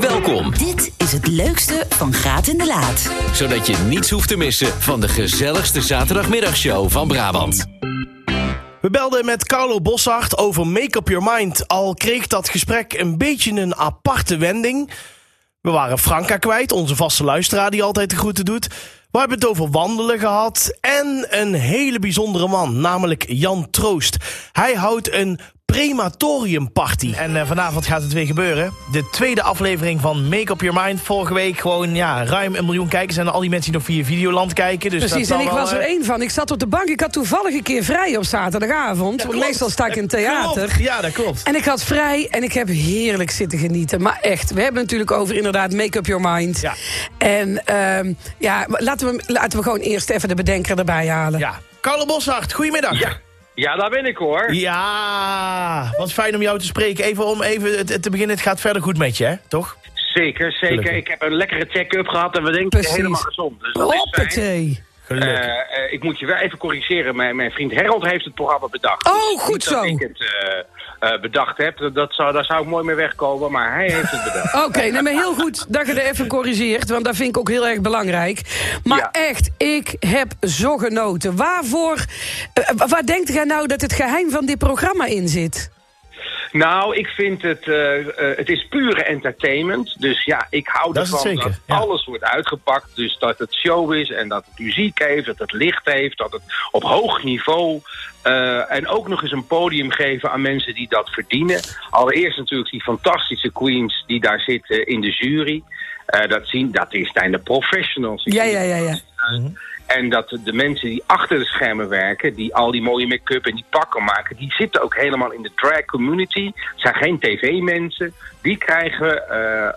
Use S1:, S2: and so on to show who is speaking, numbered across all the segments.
S1: Welkom,
S2: Dit is het leukste van Graat in de Laat.
S1: zodat je niets hoeft te missen van de gezelligste zaterdagmiddagshow van Brabant.
S3: We belden met Carlo Bossart over Make Up Your Mind, al kreeg dat gesprek een beetje een aparte wending. We waren Franka kwijt, onze vaste luisteraar die altijd de groeten doet. We hebben het over wandelen gehad en een hele bijzondere man, namelijk Jan Troost. Hij houdt een prematoriumparty. En eh, vanavond gaat het weer gebeuren. De tweede aflevering van Make Up Your Mind. Vorige week gewoon ja, ruim een miljoen kijkers en al die mensen die nog via Videoland kijken. Dus
S4: Precies,
S3: dat zal
S4: en ik
S3: wel,
S4: was er
S3: eh,
S4: één van. Ik zat op de bank. Ik had toevallig een keer vrij op zaterdagavond. want
S3: klopt.
S4: meestal sta ik in theater.
S3: Klopt. Ja, dat klopt.
S4: En ik had vrij en ik heb heerlijk zitten genieten. Maar echt, we hebben het natuurlijk over inderdaad Make Up Your Mind.
S3: Ja.
S4: En ehm, ja, maar laten we, laten we gewoon eerst even de bedenker erbij halen.
S3: Ja. Carlo Boshart, goedemiddag.
S5: Ja. Ja, daar ben ik hoor.
S3: Ja, wat fijn om jou te spreken. Even om even te- te beginnen, het gaat verder goed met je, hè? toch?
S5: Zeker, zeker.
S3: Gelukkig.
S5: Ik heb een lekkere check-up gehad en we denken
S4: Precies. eh,
S5: helemaal gezond. Dus dat is fijn.
S4: Hoppatee.
S3: Gelukkig.
S5: Eh, eh, ik moet je wel even corrigeren. Mijn, mijn vriend Harold heeft het programma bedacht.
S4: Oh,
S5: Niet
S4: goed zo.
S5: Dat ik het eh, eh, bedacht heb. Dat- Dat zou, daar zou ik mooi mee wegkomen, maar hij heeft het bedacht.
S4: Oké, nee, maar heel goed dat je er even corrigeert. Want dat vind ik ook heel erg belangrijk. Maar
S5: Ja.
S4: echt, ik heb zo genoten. Waarvoor, eh, waar denkt jij nou dat het geheim van dit programma in zit?
S5: Nou, ik vind het, eh, eh, het is pure entertainment. Dus ja, ik hou
S3: Dat is het
S5: ervan
S3: zeker,
S5: dat
S3: ja.
S5: alles wordt uitgepakt. Dus dat het show is en dat het muziek heeft, dat het licht heeft, dat het op hoog niveau. eh, en ook nog eens een podium geven aan mensen die dat verdienen. Allereerst natuurlijk die fantastische queens die daar zitten in de jury. Eh, dat, zien, dat is- zijn de professionals. Ik
S4: Ja,
S5: vind
S4: ja,
S5: het
S4: ja, ja.
S5: en dat de mensen die achter de schermen werken, die al die mooie make-up en die pakken maken, die zitten ook helemaal in de drag community. Het zijn geen tv-mensen. Die krijgen eh, eh,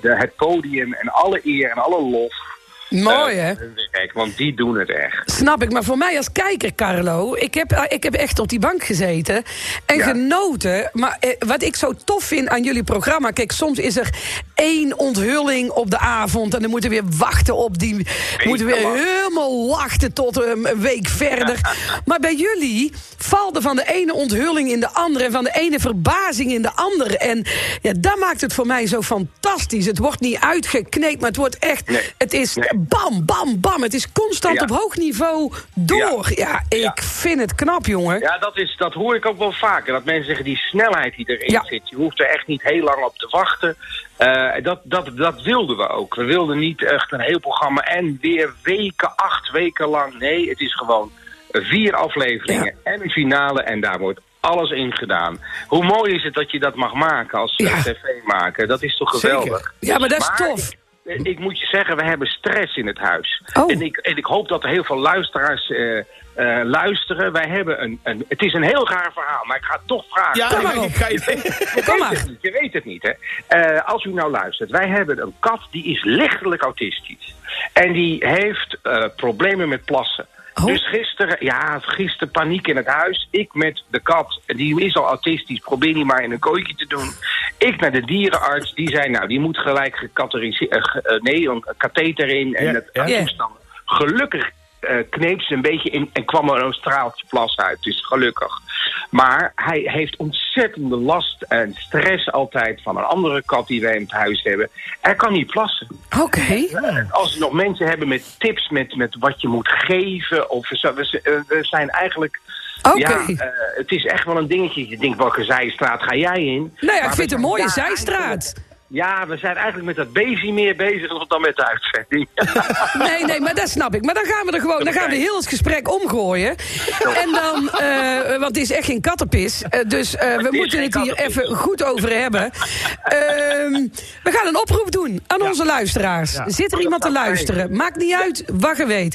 S5: de, het podium en alle eer en alle lof.
S4: Mooi,
S5: eh,
S4: hè?
S5: voor hun werk, want die doen het echt.
S4: Snap ik, maar voor mij als kijker, Carlo, ik heb, eh, ik heb echt op die bank gezeten en
S5: Ja.
S4: genoten. Maar eh, wat ik zo tof vind aan jullie programma, kijk, soms is er één onthulling op de avond en dan moeten we weer wachten op die, moeten we weer
S5: lang.
S4: helemaal wachten tot eh, een week verder. Maar bij jullie valt er van de ene onthulling in de andere en van de ene verbazing in de andere. En ja, dat maakt het voor mij zo fantastisch. Het wordt niet uitgekneed, maar het wordt echt,
S5: Nee.
S4: het is
S5: Nee.
S4: bam, bam, bam. Het is constant
S5: Ja.
S4: op hoog niveau door. Ja, ik
S5: Ja.
S4: vind het knap, jongen.
S5: Ja, dat, is, dat hoor ik ook wel vaker. Dat mensen zeggen, die snelheid die erin
S4: Ja.
S5: zit, je hoeft er echt niet heel lang op te wachten. Eh, dat, dat, dat wilden we ook. We wilden niet echt een heel programma en weer weken, acht weken lang. Nee, het is gewoon vier afleveringen en een finale en daar wordt alles in gedaan. Hoe mooi is het dat je dat mag maken als eh,
S4: Ja.
S5: tv-maker? Dat is toch geweldig?
S4: Ja, maar dat is
S5: Maar
S4: tof.
S5: Ik, Eh, ik moet je zeggen, we hebben stress in het huis.
S4: Oh.
S5: En, ik, en ik hoop dat er heel veel luisteraars eh, eh, luisteren. Wij hebben een, een. Het is een heel raar verhaal, maar ik ga het toch vragen.
S3: ja,
S4: kom
S3: ik-
S4: maar op.
S3: ik ga je...
S5: Je
S4: Kom
S5: weet
S4: maar.
S5: het niet, je weet het niet, hè. Eh, als u nou luistert, wij hebben een kat die is lichtelijk autistisch. En die heeft eh, problemen met plassen.
S4: Oh.
S5: Dus gisteren, ja, gisteren paniek in het huis. Ik met de kat, die is al autistisch, probeer die maar in een kooitje te doen. Ik naar de dierenarts, die zei, nou, die moet gelijk gekatheteriseerd, eh, nee, een katheter in en
S3: Ja,
S5: het
S3: ja.
S5: toestanden. Gelukkig eh kneep ze een beetje in en kwam er een straaltje plas uit. Dus gelukkig. Maar hij heeft ontzettende last en stress altijd van een andere kat die wij in het huis hebben. Hij kan niet plassen.
S4: Oké. Nou Oh.
S5: En Als er nog mensen hebben met tips, met, met wat je moet geven. Of zo, we, z- eh, we zijn eigenlijk.
S4: Oké.
S5: Ja, eh, het is echt wel een dingetje. Je denkt, welke zijstraat ga jij in?
S4: Nou ja, ik
S5: Maar
S4: vind
S5: we
S4: het een mooie
S5: zijn daar
S4: zijstraat.
S5: eigenlijk- Ja, we zijn eigenlijk met dat baby meer bezig dan met de uitzending.
S4: Nee, nee, maar dat snap ik. Maar dan gaan we er gewoon, dan gaan we heel het gesprek omgooien. En dan, eh, want het is echt geen kattenpis. eh, dus eh, we
S5: is
S4: moeten
S5: geen
S4: het hier
S5: kattenpis.
S4: even goed over hebben. Ehm, we gaan een oproep doen aan onze luisteraars.
S5: Oh,
S4: Zit er iemand te luisteren? Maakt niet uit wat je weet.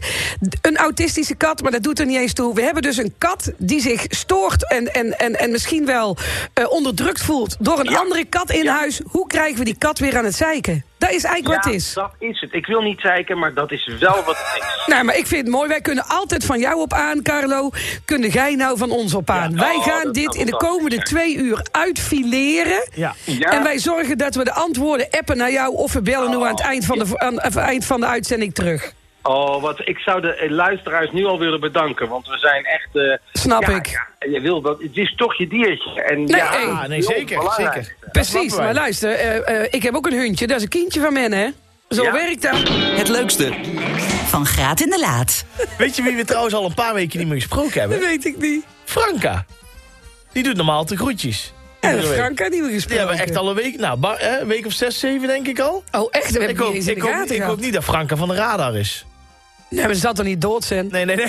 S4: D- Een autistische kat, maar dat doet er niet eens toe. We hebben dus een kat die zich stoort en, en, en, en misschien wel eh, onderdrukt voelt door een andere kat in huis. Hoe krijgen we die kat weer aan het zeiken? Dat is eigenlijk wat
S5: ja,
S4: het is.
S5: dat is het. Ik wil niet zeiken, maar dat is wel wat het is.
S4: Nou, maar ik vind het mooi. Wij kunnen altijd van jou op aan, Carlo. Kunnen jij nou van ons op aan?
S5: Ja,
S4: wij
S5: oh,
S4: gaan
S5: dat
S4: dit
S5: zou
S4: in de
S5: fantastisch
S4: komende
S5: zijn.
S4: twee uur uitfileren.
S3: Ja. Oh,
S5: Ja.
S4: En wij zorgen dat we de antwoorden appen naar jou... of we bellen nu aan het eind van de, aan, aan het eind van de uitzending terug.
S5: Oh, wat, ik zou de eh, luisteraars nu al willen bedanken, want we zijn echt... eh,
S4: Snap
S5: ja,
S4: ik.
S5: ja, je wil dat, het is toch je diertje. En ja,
S4: hey.
S3: Ah, nee, zeker.
S5: belangrijk.
S3: zeker. Dat
S4: Precies,
S3: snappen wij.
S4: maar luister, eh, eh, ik heb ook een hondje, dat is een kindje van men, hè? Zo
S5: Ja.
S4: werkt dat.
S1: Het leukste,
S2: Van Graat in de Laat.
S3: Weet je wie we trouwens al een paar weken niet meer gesproken
S4: Dat
S3: hebben?
S4: weet ik niet.
S3: Franka. Die doet normaal de groetjes.
S4: En
S3: Iedere week.
S4: Frank had niet meer
S3: Die
S4: gesproken.
S3: hebben we echt al een week, nou, ba- hè, een week of zes, zeven denk ik al.
S4: Oh, echt? We hebben
S3: Ik
S4: ik
S3: hoop,
S4: eens in
S3: ik,
S4: de
S3: hoop,
S4: gaten
S3: ik
S4: gehad.
S3: hoop niet dat Franka van de radar is.
S4: Nee, maar ze zat er niet dood zijn.
S3: Nee, nee, nee.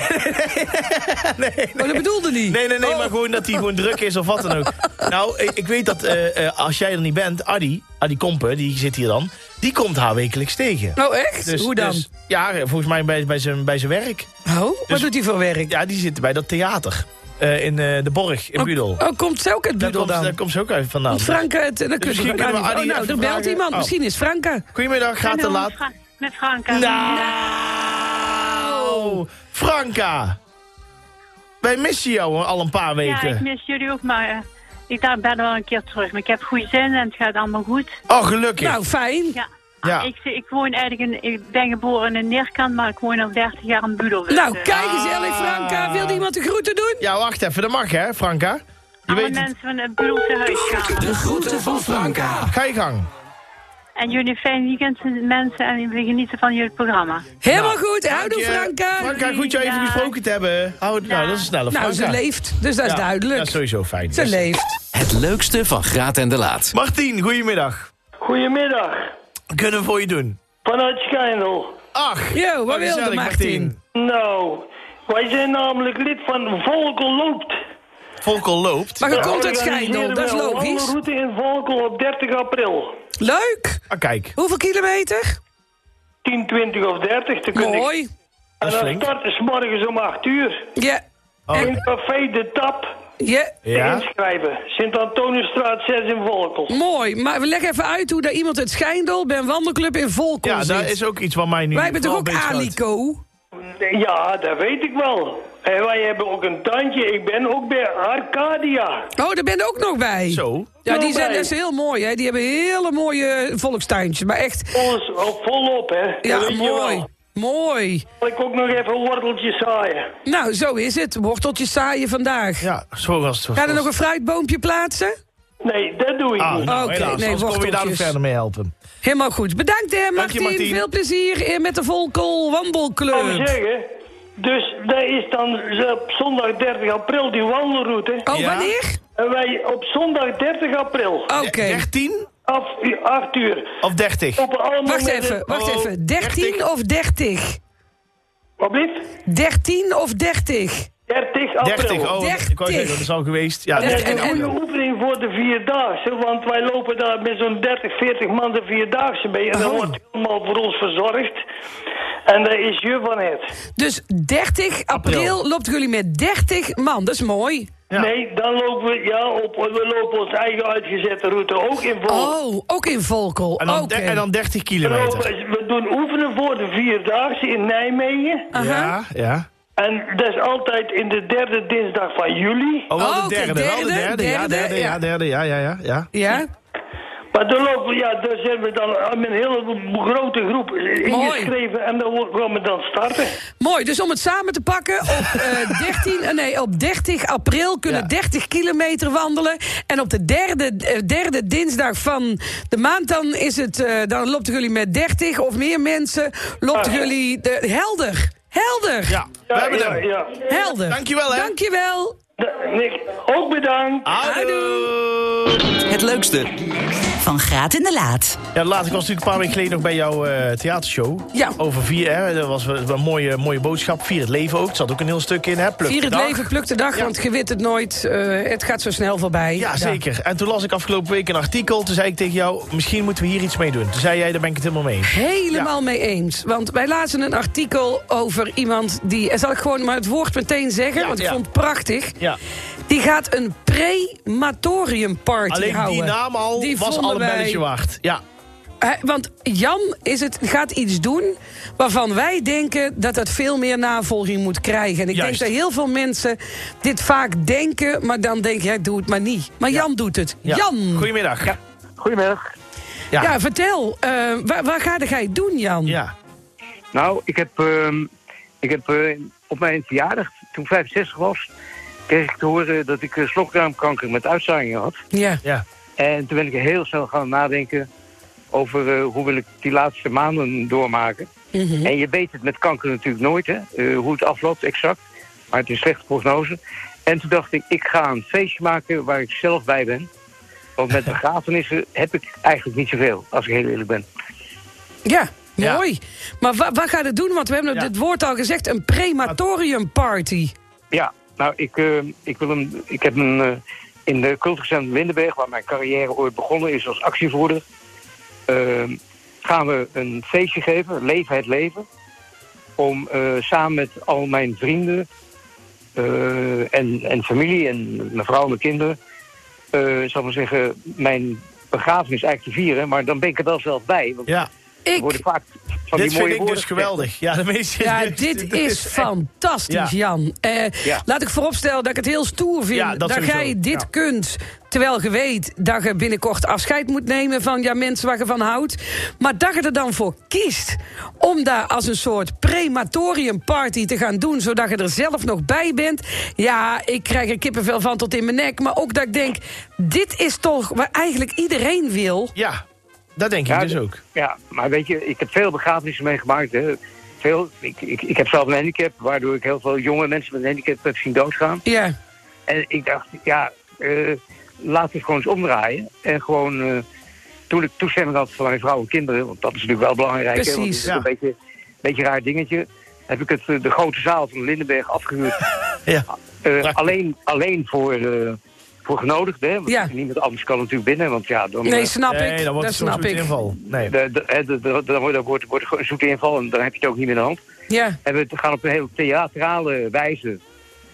S4: Oh, dat bedoelde niet.
S3: Nee, nee, nee,
S4: Oh.
S3: maar gewoon dat hij gewoon druk is of wat dan ook. Nou, ik, ik weet dat eh, eh, als jij er niet bent, Adi, Adi Kompen, die zit hier dan, die komt haar wekelijks tegen.
S4: Oh, echt?
S3: Dus-
S4: Hoe dan?
S3: dus- ja, volgens mij bij, bij, zijn, bij zijn werk.
S4: oh, wat
S3: dus-
S4: doet hij voor werk?
S3: Ja, die zit bij dat theater eh, in eh, de Borg, in Budel.
S4: Oh, komt ze ook uit
S3: Daar
S4: Budel
S3: komt, ze-
S4: dan?
S3: daar komt ze ook uit vandaan.
S4: Want Frank uit... Dan kun
S3: misschien
S4: je
S3: kunnen we Arie
S4: oh, nou,
S3: even
S4: er belt
S3: vragen.
S4: iemand.
S3: Oh.
S4: Misschien is Franke.
S3: Goedemiddag, gaat te
S6: Hallo,
S3: laat.
S6: Fra- met Franka.
S3: Nou, Franka. Wij missen jou al een paar
S6: ja, ik
S3: weken.
S6: mis jullie ook, maar eh, ik dacht, ben wel een keer terug. Maar ik heb goede zin en het gaat allemaal goed.
S3: Oh, gelukkig.
S4: Nou, fijn.
S6: Ja. Ah,
S3: Ja.
S6: Ik, ik woon eigenlijk in, ik ben geboren in Neerkant, maar ik woon al 30 jaar in Budel. Dus,
S4: Nou,
S6: eh,
S4: kijk eens, Ellie Franka. Wilde iemand de groeten doen?
S3: Ja, wacht even, dat mag hè, Franka. Je
S6: alle
S3: weet het.
S6: mensen van het Budelse huis gaan.
S3: Ga je gang.
S6: En jullie fijn weekend, mensen, en we genieten van jullie programma.
S4: Helemaal goed. Houdoe,
S3: Nou, Dank je.
S4: Franka.
S3: Franka, goed jou even
S6: Dag.
S3: gesproken te hebben. Hou, nou, dat is een snelle Franka.
S4: Nou, ze leeft. Dus dat is
S3: Ja, Dat
S4: duidelijk.
S3: is sowieso fijn. Dus-
S4: Ze leeft.
S1: het leukste van Graat en de Laat.
S3: Martien, goedemiddag.
S7: Goedemiddag,
S3: Wat kunnen we voor je doen?
S7: vanuit Schijndel.
S3: Ach,
S4: Yo, wat wilde
S3: gezellig,
S4: Martien?
S7: Nou, wij zijn namelijk lid van Volkel Loopt.
S3: Volkel loopt.
S4: Maar je komt uit
S7: het
S4: Schijndel, dat is
S7: Een
S4: logisch.
S7: route in Volkel op 30 april.
S4: Leuk.
S3: Ah, kijk,
S4: Hoeveel kilometer?
S7: 10, 20 of 30, te kunnen.
S4: Mooi.
S3: dat
S7: En
S3: is
S7: dan
S3: flink.
S7: start is morgens om 8 uur.
S4: Ja.
S7: In café De Tap
S4: Ja.
S7: te
S3: Ja?
S7: inschrijven. Sint-Antoniusstraat 6 in Volkel.
S4: Mooi, maar we leggen even uit hoe daar iemand uit Schijndel bij een wandelclub in Volkel
S3: Ja,
S4: zit.
S3: daar is ook iets wat mij nu
S4: Wij hebben toch
S3: wel
S4: ook
S3: bezighoudt.
S4: Alico?
S7: Ja, dat weet ik wel. En wij hebben ook een tandje. Ik ben ook bij Arcadia.
S4: Oh, daar ben je ook nog bij.
S3: Zo.
S4: Ja, die
S7: Nog
S4: zijn
S7: bij.
S4: dat is heel mooi, hè. Die hebben hele mooie volkstuintjes, maar echt...
S7: Alles op- volop, hè. Dat
S4: Ja,
S7: weet je
S4: mooi.
S7: wel.
S4: Mooi.
S7: Zal ik ook nog even worteltjes zaaien?
S4: Nou, zo is het. Worteltjes zaaien vandaag.
S3: Ja, zo was het.
S4: Ga er nog een fruitboompje plaatsen?
S7: Nee, dat doe ik
S3: Ah,
S7: niet.
S3: nou,
S4: Oké,
S3: helaas,
S4: nee,
S3: anders kon je daar nog
S4: worteltjes.
S3: verder mee helpen.
S4: Helemaal goed. Bedankt, hè,
S3: Dank je,
S4: Martien.
S3: Martien.
S4: Veel plezier eh, met de Volkel
S7: Ik
S3: Oh,
S7: wou
S4: Wandelclub.
S7: zeggen, dus dat is dan z- op zondag 30 april die wandelroute.
S4: Oh,
S3: Ja.
S4: wanneer?
S7: En wij op zondag 30 april,
S4: Oké.
S3: 13
S7: af 8 uur,
S3: of 30?
S7: op allemaal...
S4: Wacht even, wacht
S3: Hallo,
S4: even. 13
S3: Oh, dertig.
S4: of 30?
S7: Wat blieft?
S4: 13 of 30?
S7: 30 april.
S3: 30, oh, ik wou zeggen, dat is al geweest. Ja,
S4: Dertig.
S7: En
S4: En-
S7: een goede oefening voor de Vierdaagse, want wij lopen daar met zo'n 30, 40 man de Vierdaagse mee. En dat
S4: Oh.
S7: wordt helemaal voor ons verzorgd. En dat is je van het.
S4: Dus 30 april,
S3: April.
S4: loopt jullie met 30 man. Dat is mooi.
S3: Ja.
S7: Nee, dan lopen we, ja, op, we lopen onze eigen uitgezette route ook in vol.
S4: Oh, ook in Volkel.
S3: En dan,
S4: Oké.
S3: en dan 30
S7: We
S3: kilometer.
S7: lopen- We doen oefenen voor de Vierdaagse in Nijmegen.
S4: Aha.
S3: Ja, ja.
S7: En dat is altijd in de derde dinsdag van juli.
S3: Oh, wel
S4: Oh,
S3: de
S4: oké,
S3: derde, wel de
S4: derde,
S3: derde. Ja,
S4: derde,
S3: derde, ja,
S4: ja.
S3: derde, ja, ja, ja. ja.
S4: Ja?
S7: Maar dan lopen we, ja, daar zijn we dan met een hele grote groep ingeschreven. En dan wo- gaan we dan starten.
S4: Mooi, dus om het samen te pakken, op, eh, 13, eh, nee, op 30 april kunnen
S3: Ja.
S4: 30 kilometer wandelen. En op de derde, eh, derde dinsdag van de maand dan, is het, eh, dan lopen jullie met 30 of meer mensen. Lopen
S7: Ah.
S4: jullie de, helder, helder,
S3: Ja, we
S7: Ja,
S3: hebben
S7: ja,
S3: hem.
S7: ja.
S4: helder.
S3: Dankjewel, hè.
S4: Dankjewel.
S7: Da- Nick, ook bedankt.
S3: Houdoe.
S1: Het leukste,
S2: Van Graat in de Laat.
S3: Ja, laat ik was natuurlijk een paar weken geleden nog bij jouw eh, theatershow.
S4: Ja.
S3: Over vier, hè, dat was wel een mooie, mooie boodschap. Vier het leven ook, er zat ook een heel stuk in, hè. Pluk
S4: Vier
S3: de
S4: het
S3: dag.
S4: leven, pluk de dag, want je weet het nooit. eh, het gaat zo snel voorbij.
S3: Ja, zeker. En toen las ik afgelopen week een artikel. Toen zei ik tegen jou, misschien moeten we hier iets mee doen. Toen zei jij, daar ben ik het helemaal mee. eens.
S4: Helemaal mee eens. Want wij lazen een artikel over iemand die... En zal ik gewoon maar het woord meteen zeggen,
S3: Ja,
S4: want ik
S3: ja.
S4: vond het prachtig.
S3: Ja.
S4: Die gaat een prematoriumparty
S3: Alleen
S4: houden.
S3: die naam al
S4: Die
S3: was al
S4: vonden
S3: een
S4: wij-
S3: belletje waard. Ja,
S4: Hè, want Jan is het, gaat iets doen waarvan wij denken dat dat veel meer navolging moet krijgen. En ik
S3: Juist.
S4: denk dat heel veel mensen dit vaak denken, maar dan denk jij, doe het maar niet. Maar Jan doet het.
S3: ja.
S4: Jan!
S3: Goedemiddag. Ja.
S7: Goedemiddag.
S4: Ja, vertel, eh, waar, waar ga jij doen, Jan?
S3: ja.
S8: Nou, ik heb, ehm, ik heb eh, op mijn verjaardag, toen ik 65 was, kreeg ik te horen dat ik eh, slokdarmkanker met uitzaaiingen had.
S4: Ja.
S3: Ja.
S8: En toen ben ik heel snel gaan nadenken over eh, hoe wil ik die laatste maanden doormaken. En je weet het met kanker natuurlijk nooit, hè, eh, hoe het afloopt exact. Maar het is een slechte prognose. En toen dacht ik, ik ga een feestje maken waar ik zelf bij ben. Want met begrafenissen heb ik eigenlijk niet zoveel, als ik heel eerlijk ben.
S4: Ja,
S3: Ja.
S4: mooi. Maar wa- wat gaat het doen? Want we hebben
S3: Ja.
S4: het woord al gezegd, een prematoriumparty.
S8: Ja, nou, ik, eh, ik, wil hem, ik heb een, eh, in de cultuurcentrum Windenberg, waar mijn carrière ooit begonnen is als actievoerder, eh, gaan we een feestje geven, Leven het Leven, om eh, samen met al mijn vrienden eh, en, en familie en mijn vrouw en mijn kinderen, eh zal ik maar zeggen, mijn begrafenis eigenlijk te vieren. Maar dan ben ik er wel zelf bij, want
S3: Ja.
S8: er worden
S4: Ik,
S8: vaak van
S3: Dit
S8: die mooie
S3: vind ik
S8: woorden
S3: dus
S8: gezegd.
S3: geweldig. Ja, dat weet je.
S4: ja, dit is
S3: Ja.
S4: fantastisch, Jan. Eh,
S8: Ja.
S4: Laat ik vooropstellen dat ik het heel stoer vind
S3: Ja, dat
S4: dat,
S3: sowieso.
S4: jij dit
S3: Ja.
S4: kunt. Terwijl je weet dat je binnenkort afscheid moet nemen van ja, mensen waar je van houdt. Maar dat je er dan voor kiest om daar als een soort prematoriumparty te gaan doen. Zodat je er zelf nog bij bent. Ja, ik krijg er kippenvel van tot in mijn nek. Maar ook dat ik denk, dit is toch waar eigenlijk iedereen wil.
S3: Ja, dat denk ik dus
S8: d-
S3: ook.
S8: Ja, maar weet je, ik heb veel begrafenissen meegemaakt. Hè. Veel, ik, ik, ik heb zelf een handicap, waardoor ik heel veel jonge mensen met een handicap heb zien doodgaan.
S4: Ja.
S8: En ik dacht, ja, eh laten we het gewoon eens omdraaien. En gewoon, eh, toen ik toestemming had van mijn vrouw en kinderen, want dat is natuurlijk wel belangrijk. hè, want het is
S4: Precies,
S8: een beetje, beetje raar dingetje. Heb ik het, eh, de grote zaal van Lindenberg afgehuurd.
S3: Ja.
S8: Eh,
S3: Prachtig.
S8: alleen, alleen voor, eh, voor genodigden. hè, Want
S4: Ja.
S8: niemand anders kan natuurlijk binnen. Want ja, dan,
S4: Nee,
S8: eh,
S4: snap
S3: Nee,
S4: ik.
S3: dan wordt
S4: dat
S3: het soms
S4: snap
S3: een
S4: ik.
S3: inval. Nee.
S8: de- eh, de- hè, de- de- Dan wordt- dan wordt wordt gewoon een zoete inval en dan heb je het ook niet meer in de hand.
S4: Ja.
S8: En we gaan op een hele theatrale wijze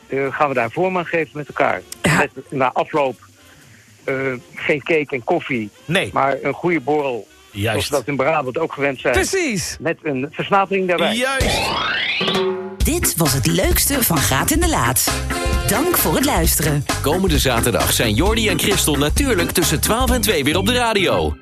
S8: eh, gaan we daar vorm aan geven met elkaar.
S4: Ja.
S8: Met, na afloop eh, geen cake en koffie,
S3: Nee,
S8: maar een goede borrel. Zoals
S3: juist.
S8: we dat in Brabant ook gewend zijn.
S4: Precies.
S8: Met een versnapering daarbij.
S3: Juist.
S2: Dit was het leukste van Graat in de Laat. Dank voor het luisteren.
S1: Komende zaterdag zijn Jordi en Christel natuurlijk tussen 12 en 2 weer op de radio.